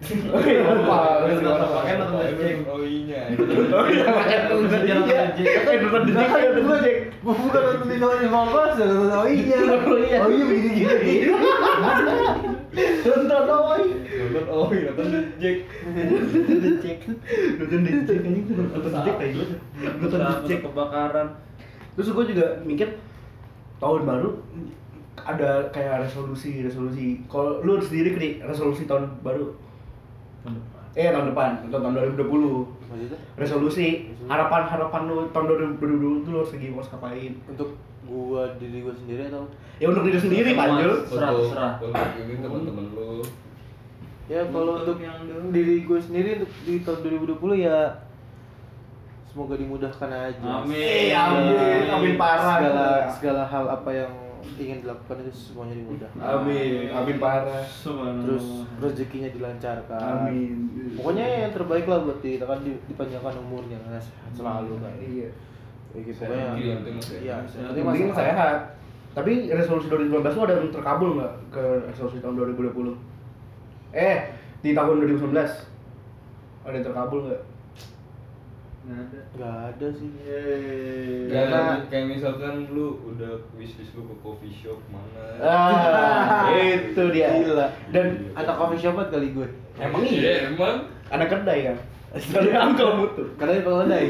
A: Oke, lupa.
C: Terus nonton
A: Iya.
C: pakai nonton
E: Banyak
C: anjing.
E: oinya.
A: Oh iya, pakai nonton
C: Terus dia nonton anjing.
A: Eh, nonton di TV, nonton
D: gue
A: Jack.
D: gue bukan nonton di nonton di mongkos nonton oi nya
C: Oh
A: Nonton
C: iya.
D: oi nya
A: oi-nya.
D: Oh iya, begini gini
A: Nonton oi.
E: Nonton
C: Oh
E: oi,
C: iya,
E: nonton The Jack.
D: Itu dicek
A: Nonton di Jack anjing tuh nonton di Jack kayak gitu. Nonton di
C: Nonton
A: Jack.
C: kebakaran.
A: Terus gue juga mikir tahun baru ada kayak resolusi resolusi kalau lu sendiri kri resolusi tahun baru
C: Tahun depan.
A: eh tahun depan atau tahun 2020
D: maksudnya
A: resolusi
D: Resolusi.
A: harapan harapan lu tahun 2020 tuh lu harus lagi mau ngapain
D: untuk gua diri gua sendiri atau
A: ya untuk diri sendiri
C: Sama.
A: panjul
C: Serah,
E: Untuk-
C: serah.
E: Untuk ini teman-teman gitu, lu.
D: ya kalau
C: Untuk
D: untuk
C: yang
D: diri gue sendiri untuk di tahun 2020 ya semoga dimudahkan aja
C: Amin.
A: Eh, amin, amin parah.
D: segala segala hal apa yang ingin dilakukan itu semuanya dimudahkan
A: Amin, amin parah.
C: Subhanallah.
D: terus rezekinya dilancarkan
A: Amin.
D: pokoknya yang terbaik lah buat kita kan di- dipanjangkan umurnya kan, sehat selalu kan
A: Iya.
D: ya, gitu,
E: Sehat
D: pokoknya
E: juga, yang penting sehat.
D: iya
C: Yang
A: Yang penting
D: masalah-
A: sehat. Tapi resolusi 2019 lu ada yang terkabul nggak ke resolusi tahun 2020? Eh, di tahun 2019 ada yang terkabul nggak?
C: Nggak ada.
D: nggak ada sih
E: Kayak-
D: Karena-
E: kayak misalkan lu udah wishlist lu ke coffee shop mana.
A: Ah, itu dia.
D: Gila.
A: Dan
D: anak coffee shop banget kali gue
A: emang
E: Iya,
A: iya,
E: emang.
A: anak kedai kan. Sekali angkel butuh.
D: karena di Pengledai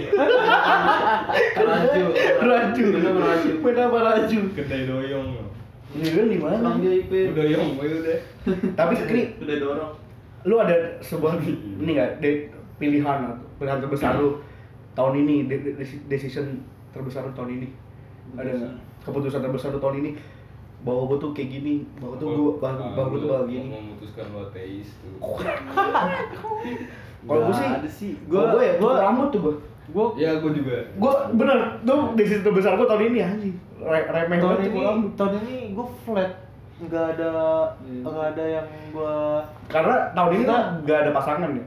C: Raju.
A: Raju.
C: Bener, raju.
A: Beda sama raju.
E: Kedai doyong. lu.
A: Ini kan di mana?
C: Orang VIP.
E: Doyong gue udah.
A: Tapi Kri,
C: Udah dorong.
A: lu ada sebuah ini nggak de- pilihan pilihan terbesar lu tahun ini de- de- desi- decision terbesar lu tahun ini ada nggak keputusan terbesar lu tahun ini bahwa gue tuh kayak gini bahwa tuh gue bahwa,
E: Ah,
A: bahwa gue tuh
E: lu
A: bahwa gini
E: memutuskan lu ateis tuh.
A: kalau gue
D: Nggak
A: sih
D: ada sih gue
A: gue gue ya gue
D: gue
A: rambut tuh gue
D: gue
E: Ya, gue juga.
A: gue bener tuh decision terbesar gue tahun ini anjing Re- remeh
D: tahun
A: banget tuh
D: ini
A: gua rambut
D: tahun ini gue flat nggak ada
C: Iya.
D: nggak ada yang gue
A: karena tahun ini
D: Kita-
A: tuh nggak ada pasangan ya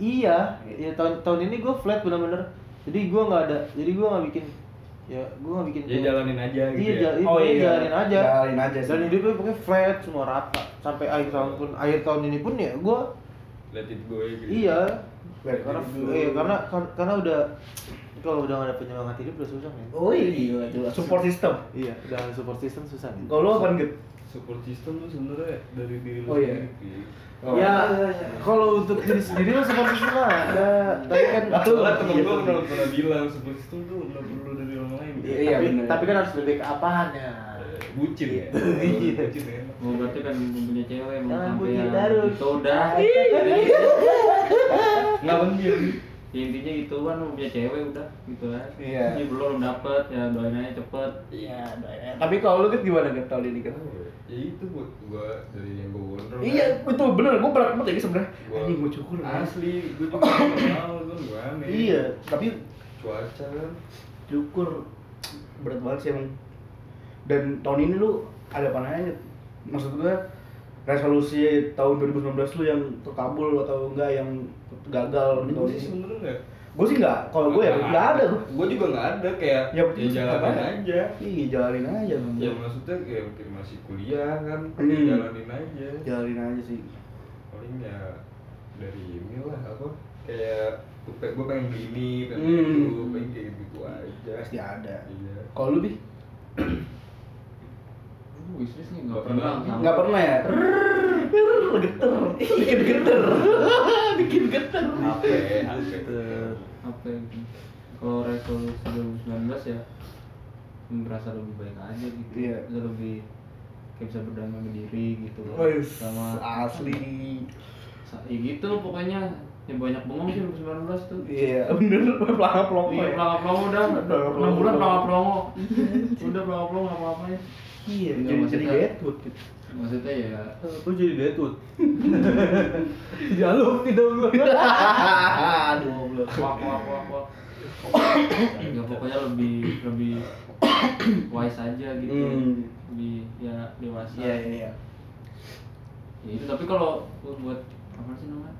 D: iya ya tahun tahun ini gue flat bener-bener jadi gue nggak ada jadi gue nggak bikin ya gue nggak bikin
E: Ya jalanin aja gitu.
D: iya,
E: ya.
D: jal-
A: Oh,
D: iya,
A: iya.
D: jalanin aja
A: Jalanin aja sih.
D: dan hidupnya pokoknya flat semua rata sampai akhir tahun pun akhir tahun ini pun ya gue
E: Let it go ya, gitu.
D: iya
A: Flat
D: karena
A: dulu.
D: eh, karena kar- karena udah kalau udah nggak ada penyemangat hidup udah susah men
A: oh iya jelas support system
D: iya udah nggak ada support system susah men
A: kalau lu apa gitu
E: Support system lu sebenarnya dari diri lu
A: Oh, iya.
E: sendiri. Pi.
D: Ya, kalau untuk diri sendiri mah seperti itu lah. Ada, tapi kan
E: Soalnya
A: iya,
E: temen gue pernah, pernah bilang support system tuh nggak perlu dari orang lain.
D: Iya,
A: Iya,
D: tapi,
A: bener.
D: tapi kan harus lebih ke apaannya.
E: Eh, Bucin ya.
D: Iya.
E: Bucin ya.
C: Oh, berarti kan belum punya cewek mau
D: Jangan
C: sampai
D: punya
C: yang
D: darut.
C: itu udah.
E: Nggak penting.
C: Ya, intinya gitu kan mau punya cewek udah gitu kan.
A: Iya.
C: Ini belum dapet ya doain aja cepet.
A: iya
D: ya.
A: tapi kalau lu gitu gimana gitu tahun ini gitu
E: Ya itu buat gue dari yang gue gondrong.
A: Iya, betul bener. Gue berat banget ini sebenarnya.
E: Gua-
A: Anjing gue cukur.
D: Iya,
A: ya.
E: Asli, gue juga nggak tahu kan gue aneh.
A: Iya, tapi
E: Cuaca kan.
A: cukur berat banget sih emang. Dan tahun ini lu ada apa nanya? Maksud gue resolusi tahun 2019 lu yang terkabul atau enggak yang gagal di
E: Gue
A: tahun
E: sih
A: ini?
E: sebenarnya nggak
A: gue sih nggak kalau gue ya nggak ada gue
E: Nah, Gue juga nggak ada kayak
A: Ya,
E: ya,
A: betul,
E: jalanin
A: apa?
E: aja.
A: iya jalanin aja Bang.
E: Ya maksudnya ya mungkin masih kuliah kan,
A: Hmm.
E: ya jalanin aja.
A: jalanin aja sih
E: Paling ya dari ini lah apa kayak gue pengen beli ini, pengen
A: Hmm.
E: beli itu, pengen kayak gitu aja.
A: pasti ada
E: Iya.
A: kalau lu bi
C: Wishlist nih
E: Nggak
C: nggak pernah.
E: pernah.
A: nggak pernah ya Rrrr, geter bikin geter bikin geter
C: HP,
E: HP.
C: HP. gitu. Kalau resolusi 2019 ya merasa lebih baik aja gitu.
A: Iya.
C: Bisa lebih kayak bisa berdamai sama diri gitu. loh.
A: Wes,
C: sama
A: asli
C: sa- ya gitu loh pokoknya yang banyak bengong sih 2019 tuh.
A: iya bener pelangap pelongo
C: Iya,
A: ya.
C: pelangap pelongo udah, udah
A: Pelangap
C: enam bulan
A: pelongo.
C: pelangap pelongo. Udah pelangap pelongo ya. apa apain
A: iya Eh,
C: Nggak,
A: jadi jadi
C: maksudnya-
A: Deadwood gitu
C: Maksudnya ya,
D: Aku jadi detut. Jalur tidak lu.
A: aduh belum
C: wak wak wak wak. Ya pokoknya lebih lebih wise aja gitu.
A: Hmm.
C: Lebih ya dewasa.
A: iya iya iya
C: Ya itu tapi kalau gua buat apa sih namanya?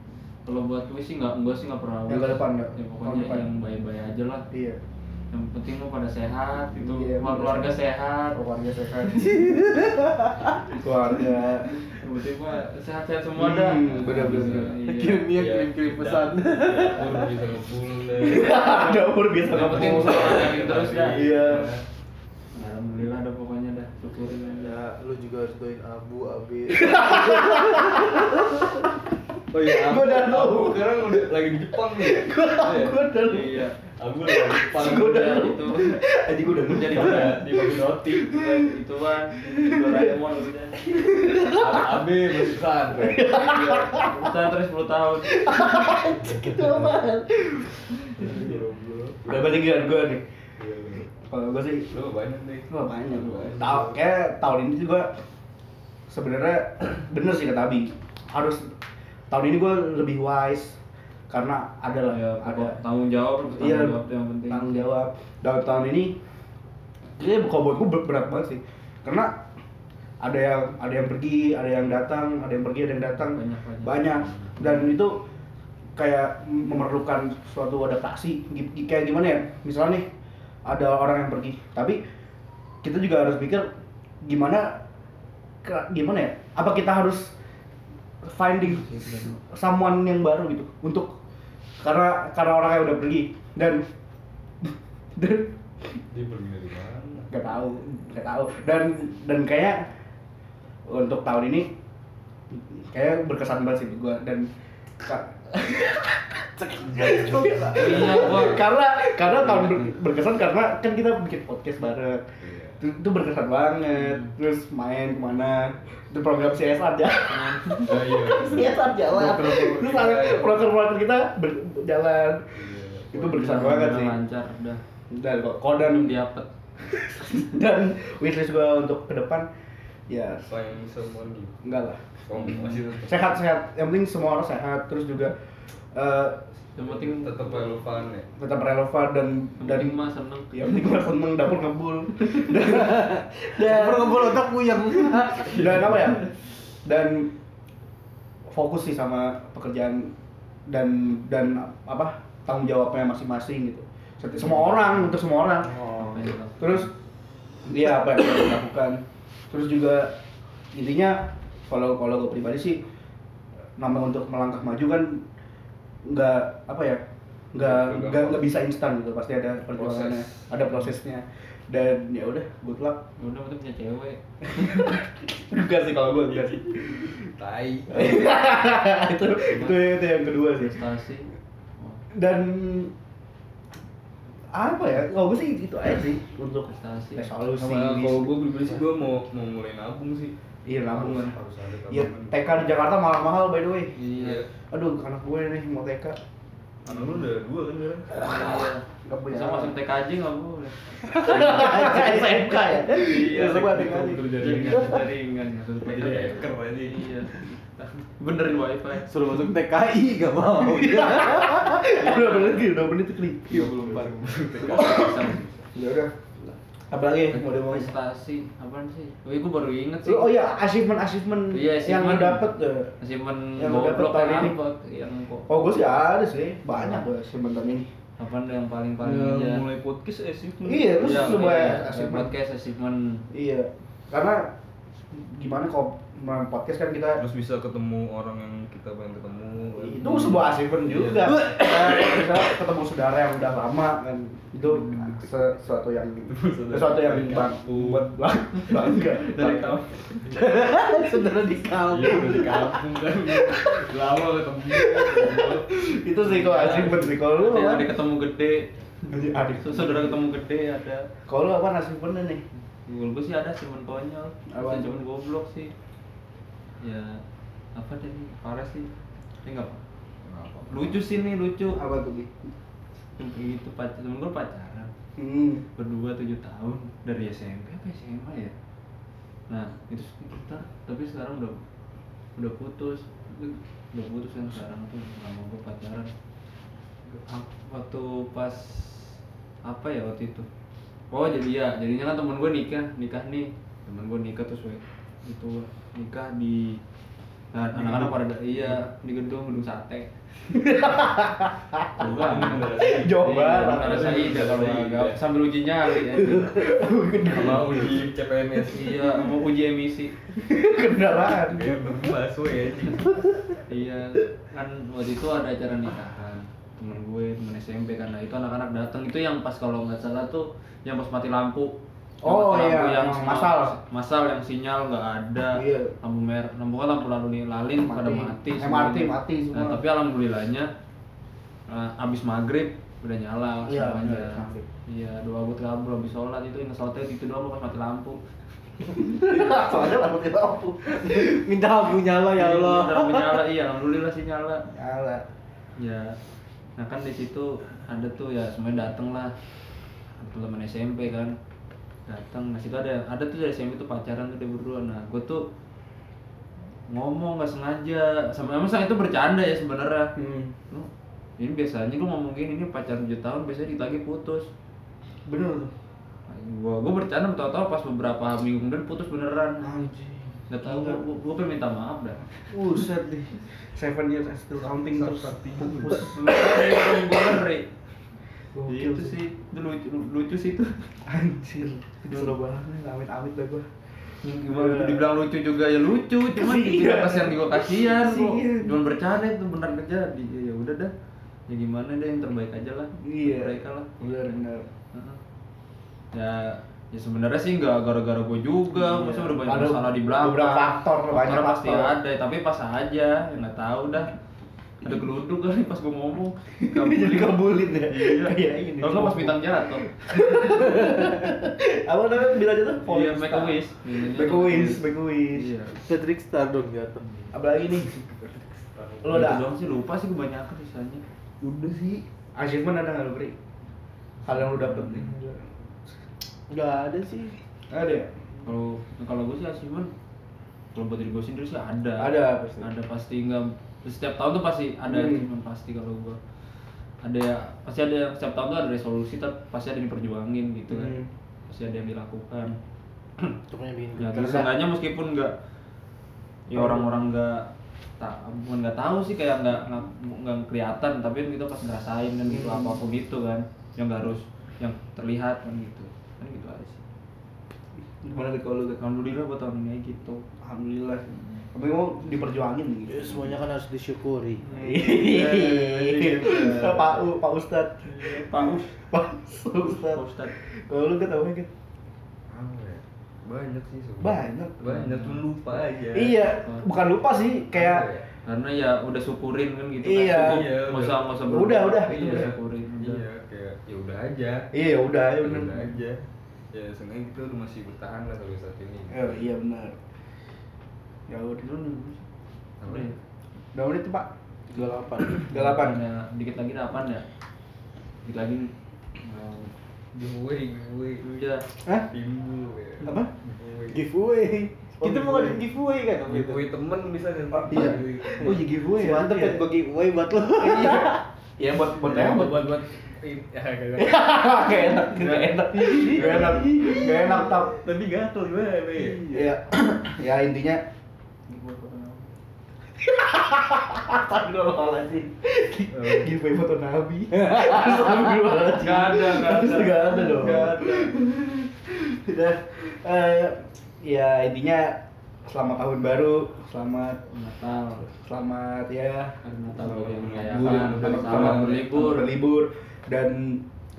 C: Kalau buat wish sih nggak, gua sih nggak
A: Yang
C: pernah.
A: ke
C: wish.
A: depan nggak?
C: Ya
A: Tahun
C: pokoknya
A: depan.
C: yang baik-baik aja lah.
A: iya
C: Yang penting lu pada sehat, itu
A: Iya,
C: keluarga sehat.
A: keluarga sehat Oh. keluarga
C: Yang penting gua sehat-sehat semua dah.
A: Hmm, bener, bener, bener.
C: Iya.
D: Kirim dia kirim-kirim pesan.
E: Dapur bisa ngebulan.
A: dapur biasa
C: Yang penting
A: ngomong.
C: usaha jalanin terus dah.
A: Iya.
C: Alhamdulillah dah pokoknya dah, syukurin aja.
D: Ya, lu juga harus doain Abu, Abi.
E: Oh iya,
A: Gua udah tahu.
E: Aku sekarang udah lagi di Jepang nih.
A: Gua-
E: Iya.
A: gua udah tahu.
E: Iya, aku lagi di Jepang. Iya.
A: Gua udah tahu.
C: itu
D: Iya.
A: Aji gue udah
C: jadi
E: Udah,
C: udah
E: di Baginoti.
C: itu kan Doraemon gitu.
E: Abe masih santai.
C: Iya. Kita terus 10 tahun.
A: gitu apaan udah balik giliran gue nih kalau gue sih
E: Iya, Lu banyak nih.
A: gue banyak
E: Lu
A: gue tahu kayak tahun ini gue sebenarnya bener sih kata Abi harus tahun ini gue lebih wise karena ada lah
C: Ya,
A: ada
C: ada tanggung jawab, tanggung
A: iya
C: jawab yang penting.
A: tanggung jawab dalam tahun ini ini kalau buat gue ber- berat banget sih karena ada yang ada yang pergi ada yang datang ada yang pergi ada yang datang
C: Banyak, banyak.
A: dan itu kayak memerlukan suatu adaptasi Gi- gi- kayak gimana ya misalnya nih ada orang yang pergi tapi kita juga harus pikir gimana ke- gimana ya apa kita harus finding someone yang baru gitu untuk karena karena orang yang udah pergi dan dan
E: Dia pergi dari mana?
A: nggak tahu nggak tahu dan dan kayak untuk tahun ini kayak berkesan banget sih buat gua dan ka-
C: Iya, gua-
A: karena karena tahun ber- berkesan karena kan kita bikin podcast bareng
E: Iya.
A: itu, itu berkesan banget terus main kemana itu program CSR aja
E: Ah, iya.
A: CSR jalan
E: Proker-proker
A: terus
E: kita,
A: akhirnya
E: iya.
A: proker-proker kita ber- jalan
E: Iya.
A: itu berkesan banget sih
C: Lancar, udah.
A: dan kok kok dan
C: Dan diapet.
A: dan wishlist gue untuk ke depan ya
E: Find someone new.
A: enggak lah
E: Kamu masih tetap
A: sehat sehat yang penting semua orang sehat terus juga eh,
C: Yang penting
E: tetap relevan ya.
A: tetap relevan dan
C: yang
A: dan
C: penting mah seneng.
A: yang penting gue seneng dapur ngebul dan
D: Dan ngebul otak puyeng.
A: dan apa ya dan fokus sih sama pekerjaan dan dan apa tanggung jawabnya masing-masing gitu Seti- semua orang untuk semua orang
C: Apa yang kita-
A: terus dia apa yang harus dilakukan terus juga intinya kalau kalau gue pribadi sih nama untuk melangkah maju kan nggak apa ya nggak
E: Nggak
A: nggak
E: gampang.
A: nggak bisa instan gitu pasti ada perjuangannya
E: Proses.
A: ada prosesnya dan ya udah good luck
C: Udah penting punya cewek.
A: enggak sih kalau gue enggak sih
E: Tai.
A: Nah, itu, itu itu yang kedua sih
C: Prestasi.
A: dan apa ya kalau gue sih itu aja sih untuk
C: Prestasi.
A: resolusi
E: Sama kalau gue pribadi sih gue mau mau mulai nabung sih.
A: iya
E: Harus-
A: lambungan
E: Harus ada
A: Iya,
E: tabungan.
A: TK di Jakarta mahal-mahal by the way.
E: Iya.
A: Aduh, anak gue nih mau TK.
E: Anak lu udah dua kan sekarang?
C: Iya.
A: Gak punya.
C: Bisa masuk TKJ nggak boleh.
A: SMK ya. Iya,
E: Iya,
A: semua
E: itu
A: TK aja.
E: terjaringan.
C: Jaringan, jaringan. Masuk
E: Jadi
C: TKJ.
E: hacker aja.
C: Iya. Benerin wifi.
D: Suruh masuk TKI gak mau.
A: Iya. Udah bener gitu, udah bener tuh klik.
E: Iya,
D: Iya,
E: belum
A: Ya udah. Apalagi yang mau diomongin?
C: Prestasi. Apaan sih? Oh, iya, gua baru inget sih.
A: Lu- Eh, Oh iya, achievement achievement
C: Iya,
A: yang lu
C: achievement.
A: dapet eh, tuh.
C: Masih men
A: Yang lu dapet
C: goblok
A: tahun
C: kan
A: ini.
C: apa yang kok.
A: Oh gue sih ada sih, banyak gue achievement tahun ini.
C: apa yang paling paling aja
E: Ya, mulai podcast achievement.
A: Iya, terus
C: Iya,
A: sebuah
C: iya,
A: achievement.
C: podcast achievement
A: Iya. Karena gimana kalau melakukan podcast kan kita
E: Terus bisa ketemu orang yang kita pengen ketemu. Iya.
A: itu sebuah achievement juga. Nah, misalnya ketemu saudara yang udah lama kan itu se- sesuatu yang sesuatu yang
E: Dari
A: bang,
E: kampung.
A: buat bang, bangga.
C: Iya.
E: dari kampung.
D: saudara di kampung
E: Iya, dari kampung kan. Lama ketemu.
A: itu sih kalau Oh, achievement sih kalau lu
C: ada,
A: apa?
C: ada ketemu gede
A: Adik.
C: saudara ketemu gede ada
A: Kalau lu apa achievementnya nih?
C: Google gue sih ada cuman konyol
A: Apa?
C: Bukan cuman goblok sih ya apa tadi parah sih ini nggak lucu sih nih lucu
A: Apa tuh? Gi?
C: yang begitu pacar temen gue pacaran
A: Hmm.
C: berdua tujuh tahun dari SMP apa SMA ya nah itu kita tapi sekarang udah udah putus udah putus kan sekarang tuh sama gue pacaran Ak- waktu pas apa ya waktu itu oh jadi ya jadinya kan temen gue nikah nikah nih temen gue nikah terus we- itu nikah di nah, anak-anak pada da- iya di gedung gedung sate bukan
A: Coba.
C: ada Saida kalau nggak sambil uji nyali ya.
E: Sama uji CPNS.
C: iya mau uji emisi
A: Kendaraan.
E: Kayak bahas gue ya. Ji.
C: iya kan waktu itu ada acara nikahan temen gue temen SMP kan nah itu anak-anak datang itu yang pas kalau nggak salah tuh yang pas mati lampu Yang
A: Oh,
C: mati lampu
A: iya, yang
C: semua-
A: masal.
C: masal yang sinyal nggak ada
A: Iya.
C: lampu merah lampu kan lampu lalu lalin
A: Mati.
C: pada mati
A: MRT
C: semuanya.
A: mati semua.
C: nah, tapi alhamdulillahnya eh, abis maghrib udah nyala
A: Iya,
C: semuanya
A: bener, maghrib.
C: iya dua abut kabur abis sholat itu yang sholatnya gitu doang pas mati lampu
A: Soalnya lampu kita lampu.
D: minta abu nyala
A: Oh,
D: ya Allah
C: Lampu nyala iya alhamdulillah sih nyala
A: Nyala.
C: ya nah kan di situ ada tuh ya semuanya dateng lah teman SMP kan datang nah situ ada ada tuh dari SMP tuh pacaran tuh dia berdua nah gue tuh ngomong nggak sengaja sama emang saat itu bercanda ya sebenarnya
A: Hmm.
C: Lu, ini biasanya gue ngomong gini ini pacaran 7 tahun biasanya ditagi putus
A: Bener.
C: Nah, gua gua bercanda tau-tau pas beberapa minggu kemudian putus beneran
A: Anjing.
C: nggak tahu gua, gua, gua pengen minta maaf dah
A: Buset deh. Seven years I still counting terus. Pupus.
C: gue ngeri
A: Gokil
C: Iya, itu sih itu lucu, lucu sih itu
A: Anjir. Seru banget nih awet-awet dah gua.
C: gimana dibilang lucu juga ya lucu cuman
A: Iya.
C: dibilang kasihan juga kasihan kok
A: Kasihan.
C: cuman bercanda itu benar terjadi ya ya udah dah ya gimana deh yang terbaik aja lah
A: Iya.
C: mereka lah
A: Bener bener.
C: Heeh. ya ya sebenarnya sih nggak gara-gara gue
A: Iya.
C: juga maksudnya udah banyak
A: Ada
C: masalah di belakang
A: beberapa faktor, banyak
C: Faktornya pasti
A: faktor.
C: ada tapi pas aja ya nggak tahu dah ada geluduk kali pas gue ngomong
A: Jadi
C: Kabulin.
A: kabulin ya.
C: Iya.
A: Kayak ini.
C: Kalau nggak pas bintang jatuh.
A: Apa namanya bilang itu?
C: Iya, make a wish.
A: Make a wish, make a wish.
C: Iya.
D: Patrick Star dong ya. jatuh
A: Apalagi nih? Lo
C: Lo
A: ada-
C: Gitu doang sih lupa sih kebanyakan sisanya.
A: Udah sih. Achievement ada nggak lo beri? Hal yang lo dapet nih?
D: nggak ada sih
A: Ada ya?
C: Kalau kalau gue sih achievement kalau buat diri gue sendiri sih ada.
A: Ada pasti.
C: Ada pasti nggak setiap tahun tuh pasti ada
A: Hmm.
C: achievement pasti kalau gue ada ya pasti ada setiap tahun tuh ada resolusi tapi pasti ada yang diperjuangin gitu kan
A: Hmm.
C: pasti ada yang dilakukan
D: pokoknya bikin
C: ya
A: Karena-
C: terus seenggaknya meskipun nggak ya orang-orang nggak tak bukan nggak tahu sih kayak nggak nggak nggak kelihatan tapi kan kita pas ngerasain dan gitu
A: Hmm.
C: apapun itu kan yang nggak harus yang terlihat kan gitu kan gitu aja sih
A: Gimana deh kalau lo? Gak?
C: alhamdulillah buat tahun ini gitu
A: Alhamdulillah. Tapi mau diperjuangin gitu.
D: Ya, semuanya kan harus disyukuri
A: Hehehe. Pak U, Pak Ustad.
C: pak Us
A: Pak
C: Pak
A: Ustad.
C: Ustad
A: Kalau lu ketahuan kan
E: Apa ya? Banyak sih sebenarnya.
A: banyak.
E: Banyak tuh lupa aja.
A: Iya, bukan lupa sih
E: Apa
A: kayak
E: ya?
C: karena ya udah syukurin kan gitu
A: Iya.
C: kan
E: Iya,
C: cukup nggak usah nggak usah
A: Udah,
C: berubah.
A: udah,
C: Iya,
E: udah.
C: syukurin udah.
E: Iya, kayak ya udah aja.
A: iya udah ya
E: Ya
A: benar.
E: udah aja. Ya seenggaknya kita udah masih bertahan lah sampai saat ini.
A: Eh, iya benar. Ya udah.
C: Lu nih,
E: Apa
C: udah
E: ya?
C: ya? Iya.
A: Udah menit tuh, Pak.
D: 38
A: Delapan.
C: Ada dikit lagi ada apaan ya dikit lagi Nah,
E: Giveaway, giveaway.
C: udah
A: Hah?
E: Timbul ya.
A: Apa?
E: Giveaway.
D: giveaway kita mau ngadain giveaway kan waktu itu?
E: Giveaway temen bisa nih.
A: Oh, iya. Oh, jadi giveaway ya.
D: mantep
A: iya.
D: kan gua giveaway buat lo
A: Iya buat buat
E: Ya,
A: yang
E: buat
A: buat.
E: buat buat. Ya, kagak.
A: Gak enak, gak enak. Gak enak. Gak enak tap.
E: Iya. Tapi gatel gimana ya?
A: Iya. Ya intinya Astagfirullahaladzim Giveaway foto Nabi Astagfirullahaladzim
E: Nggak ada, nggak ada.
A: Terus nggak ada dong
E: Nggak ada.
A: Udah, eh, Ya intinya Selamat tahun baru Selamat
C: Natal
A: Selamat ya
C: Hari Natal bagi yang
A: Selamat
C: merayakan
A: berlibur.
C: Selamat berlibur
A: berlibur Dan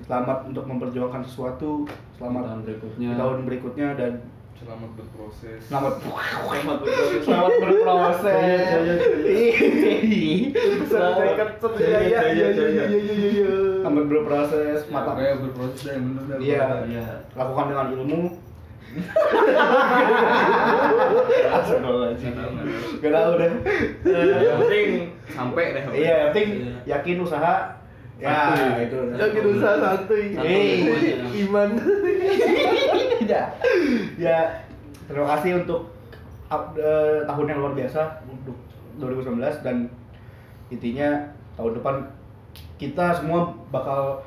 A: selamat untuk memperjuangkan sesuatu
C: Selamat
A: Selamat
C: tahun berikutnya
A: di tahun berikutnya dan
E: Selamat berproses.
A: selamat
C: Selamat berproses
A: selamat berproses. Iya. Sampai ketemu ya ya ya ya ya ya ya, ya. Selamat berproses,
E: Mata
A: mata
E: kayak berproses dah, yang bener dah.
A: Iya.
C: Iya.
A: lakukan dengan ilmu.
E: Nggak tahu, nggak tahu.
A: Gak tau udah.
E: Yang penting sampai deh.
A: Iya, yang penting yakin usaha. Ya, itu. Iya.
D: Yakin usaha santuy.
A: Santuy.
D: Iman.
A: ya ya terima kasih untuk up- eh, tahun yang luar biasa untuk 2019 dan intinya tahun depan kita semua bakal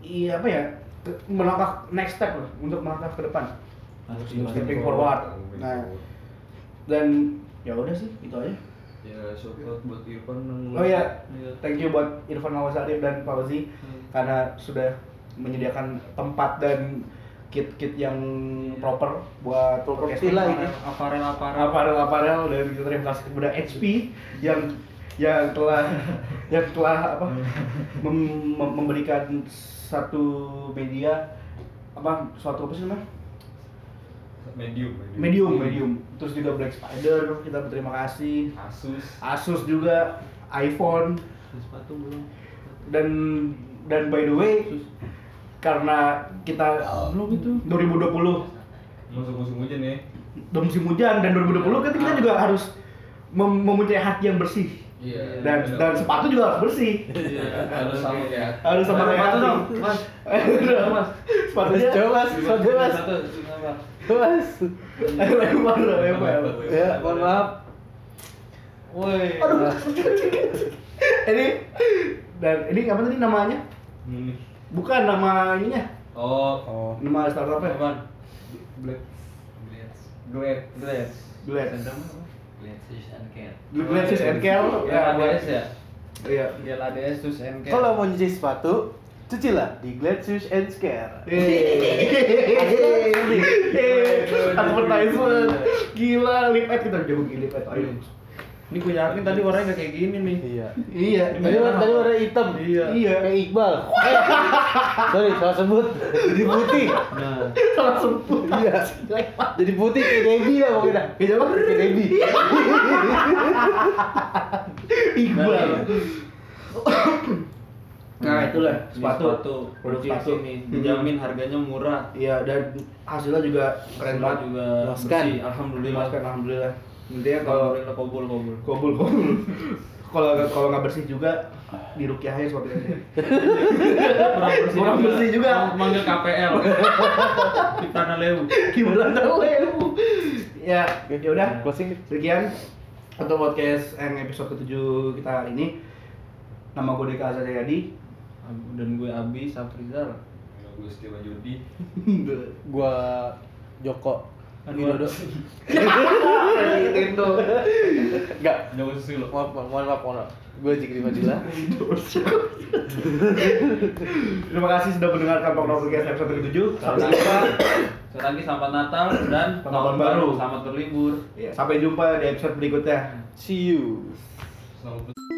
A: iya apa ya ke- melangkah next step lah untuk melangkah ke depan
C: Harus
A: stepping forward
C: dilanjutkan.
A: nah dan ya udah sih itu aja
E: Ya, shout out buat Irfan yang
A: oh ya thank you buat Irfan Awas Arif dan Fauzi karena sudah menyediakan tempat dan kit-kit yang proper buat podcast
D: Properti lah ini.
C: ya. Aparel aparel
A: aparel aparel dan kita gitu, terima kasih kepada HP yang yang telah yang telah apa mem- mem- memberikan satu media apa suatu apa sih namanya
E: medium,
A: medium medium terus juga Black Spider kita berterima kasih
E: Asus.
A: Asus juga iPhone
C: Sepatu belum
A: dan dan by the way karena kita
C: Belum itu
A: 2020
E: Masuk musim hujan ya.
A: dan musim hujan dan 2020 kan
C: Ah.
A: kita juga harus mem- mempunyai hati yang bersih
E: Iya.
A: dan dan sepatu juga harus bersih
C: Iya
E: harus sama kayak
A: harus sama kayak
C: ya. Sepatu
A: hati.
C: dong Mas Mas
A: sepatunya coba
D: Sepatu, Mas.
C: Satu, apa?
D: Mas.
A: lempar lempar
D: Ya, mohon maaf.
C: Woi
A: aduh ini dan ini apa tadi namanya
E: Hmm.
A: bukan nama ininya
E: Oh,
B: Oh.
A: nama startupnya
C: Apaan?
E: Blade. Glad.
C: Glass
A: Glad
C: Glasses and care
A: Glad Sis and Kel
C: Ya,
A: ya
C: ADS ya?
A: iya
C: Ya, ADS terus and care
D: Kalau mau nyuci
A: Eh,
D: sepatu, cucilah di Glad Shoes and Scare.
A: eh,
E: Iya.
A: Advertisement
C: Iya.
A: Gila, lip ad kita jago gini lip ad Ayo
C: Ini gue yakin tadi warnanya gak kayak gini nih
D: Iya.
A: Iya
D: Tadi war- tadi warna hitam.
C: Iya.
A: Iya.
D: Kayak Iqbal. Eh, Sorry, salah sebut. Jadi putih.
C: Nah,
A: Salah sebut
D: Iya. Jadi putih kayak Debbie lah pokoknya.
A: Kayak apa?
D: Kayak Debbie.
A: Iqbal iya. Nah
C: Nah,
A: itulah
C: ini
A: sepatu
C: sepatu
A: Produk
C: Kucing
A: sepatu
C: sini,
A: Mhm.
C: dijamin harganya murah
A: Iya dan hasilnya juga keren
C: Semua
A: banget
C: juga
D: Jelaskan.
C: bersih, alhamdulillah
A: Dimaskan, Alhamdulillah Intinya Iya, kalau
C: Alhamdulillah kobul kobul
A: Kobul kobul Kalau kalau nggak bersih juga dirukyah aja seperti ini.
C: Kurang bersih
A: Kurang
C: juga.
A: bersih juga.
C: Mang- Manggil KPL Di Tanah Leu
A: Gimana tahu ya? Ya udah.
D: Closing.
A: Sekian untuk podcast yang episode ke-7 kita hari ini. Nama gue Deka Azadiyadi.
C: Dan gue Abi Saprizal
E: Ya, Gue Setiawan Jodi.
D: Gua Joko. Widodo.
A: Nintendo.
D: Enggak.
E: Jangan susilo.
D: Mohon maaf, mohon maaf, mohon maaf. Gue Jikri Fadila.
A: Terima kasih sudah mendengarkan program podcast episode ke-7. Sampai jumpa.
C: Sekali lagi selamat Natal dan
A: Tahun baru.
C: Selamat berlibur
A: Iya, Ya, sampai jumpa di episode berikutnya.
D: See you.
E: Selamat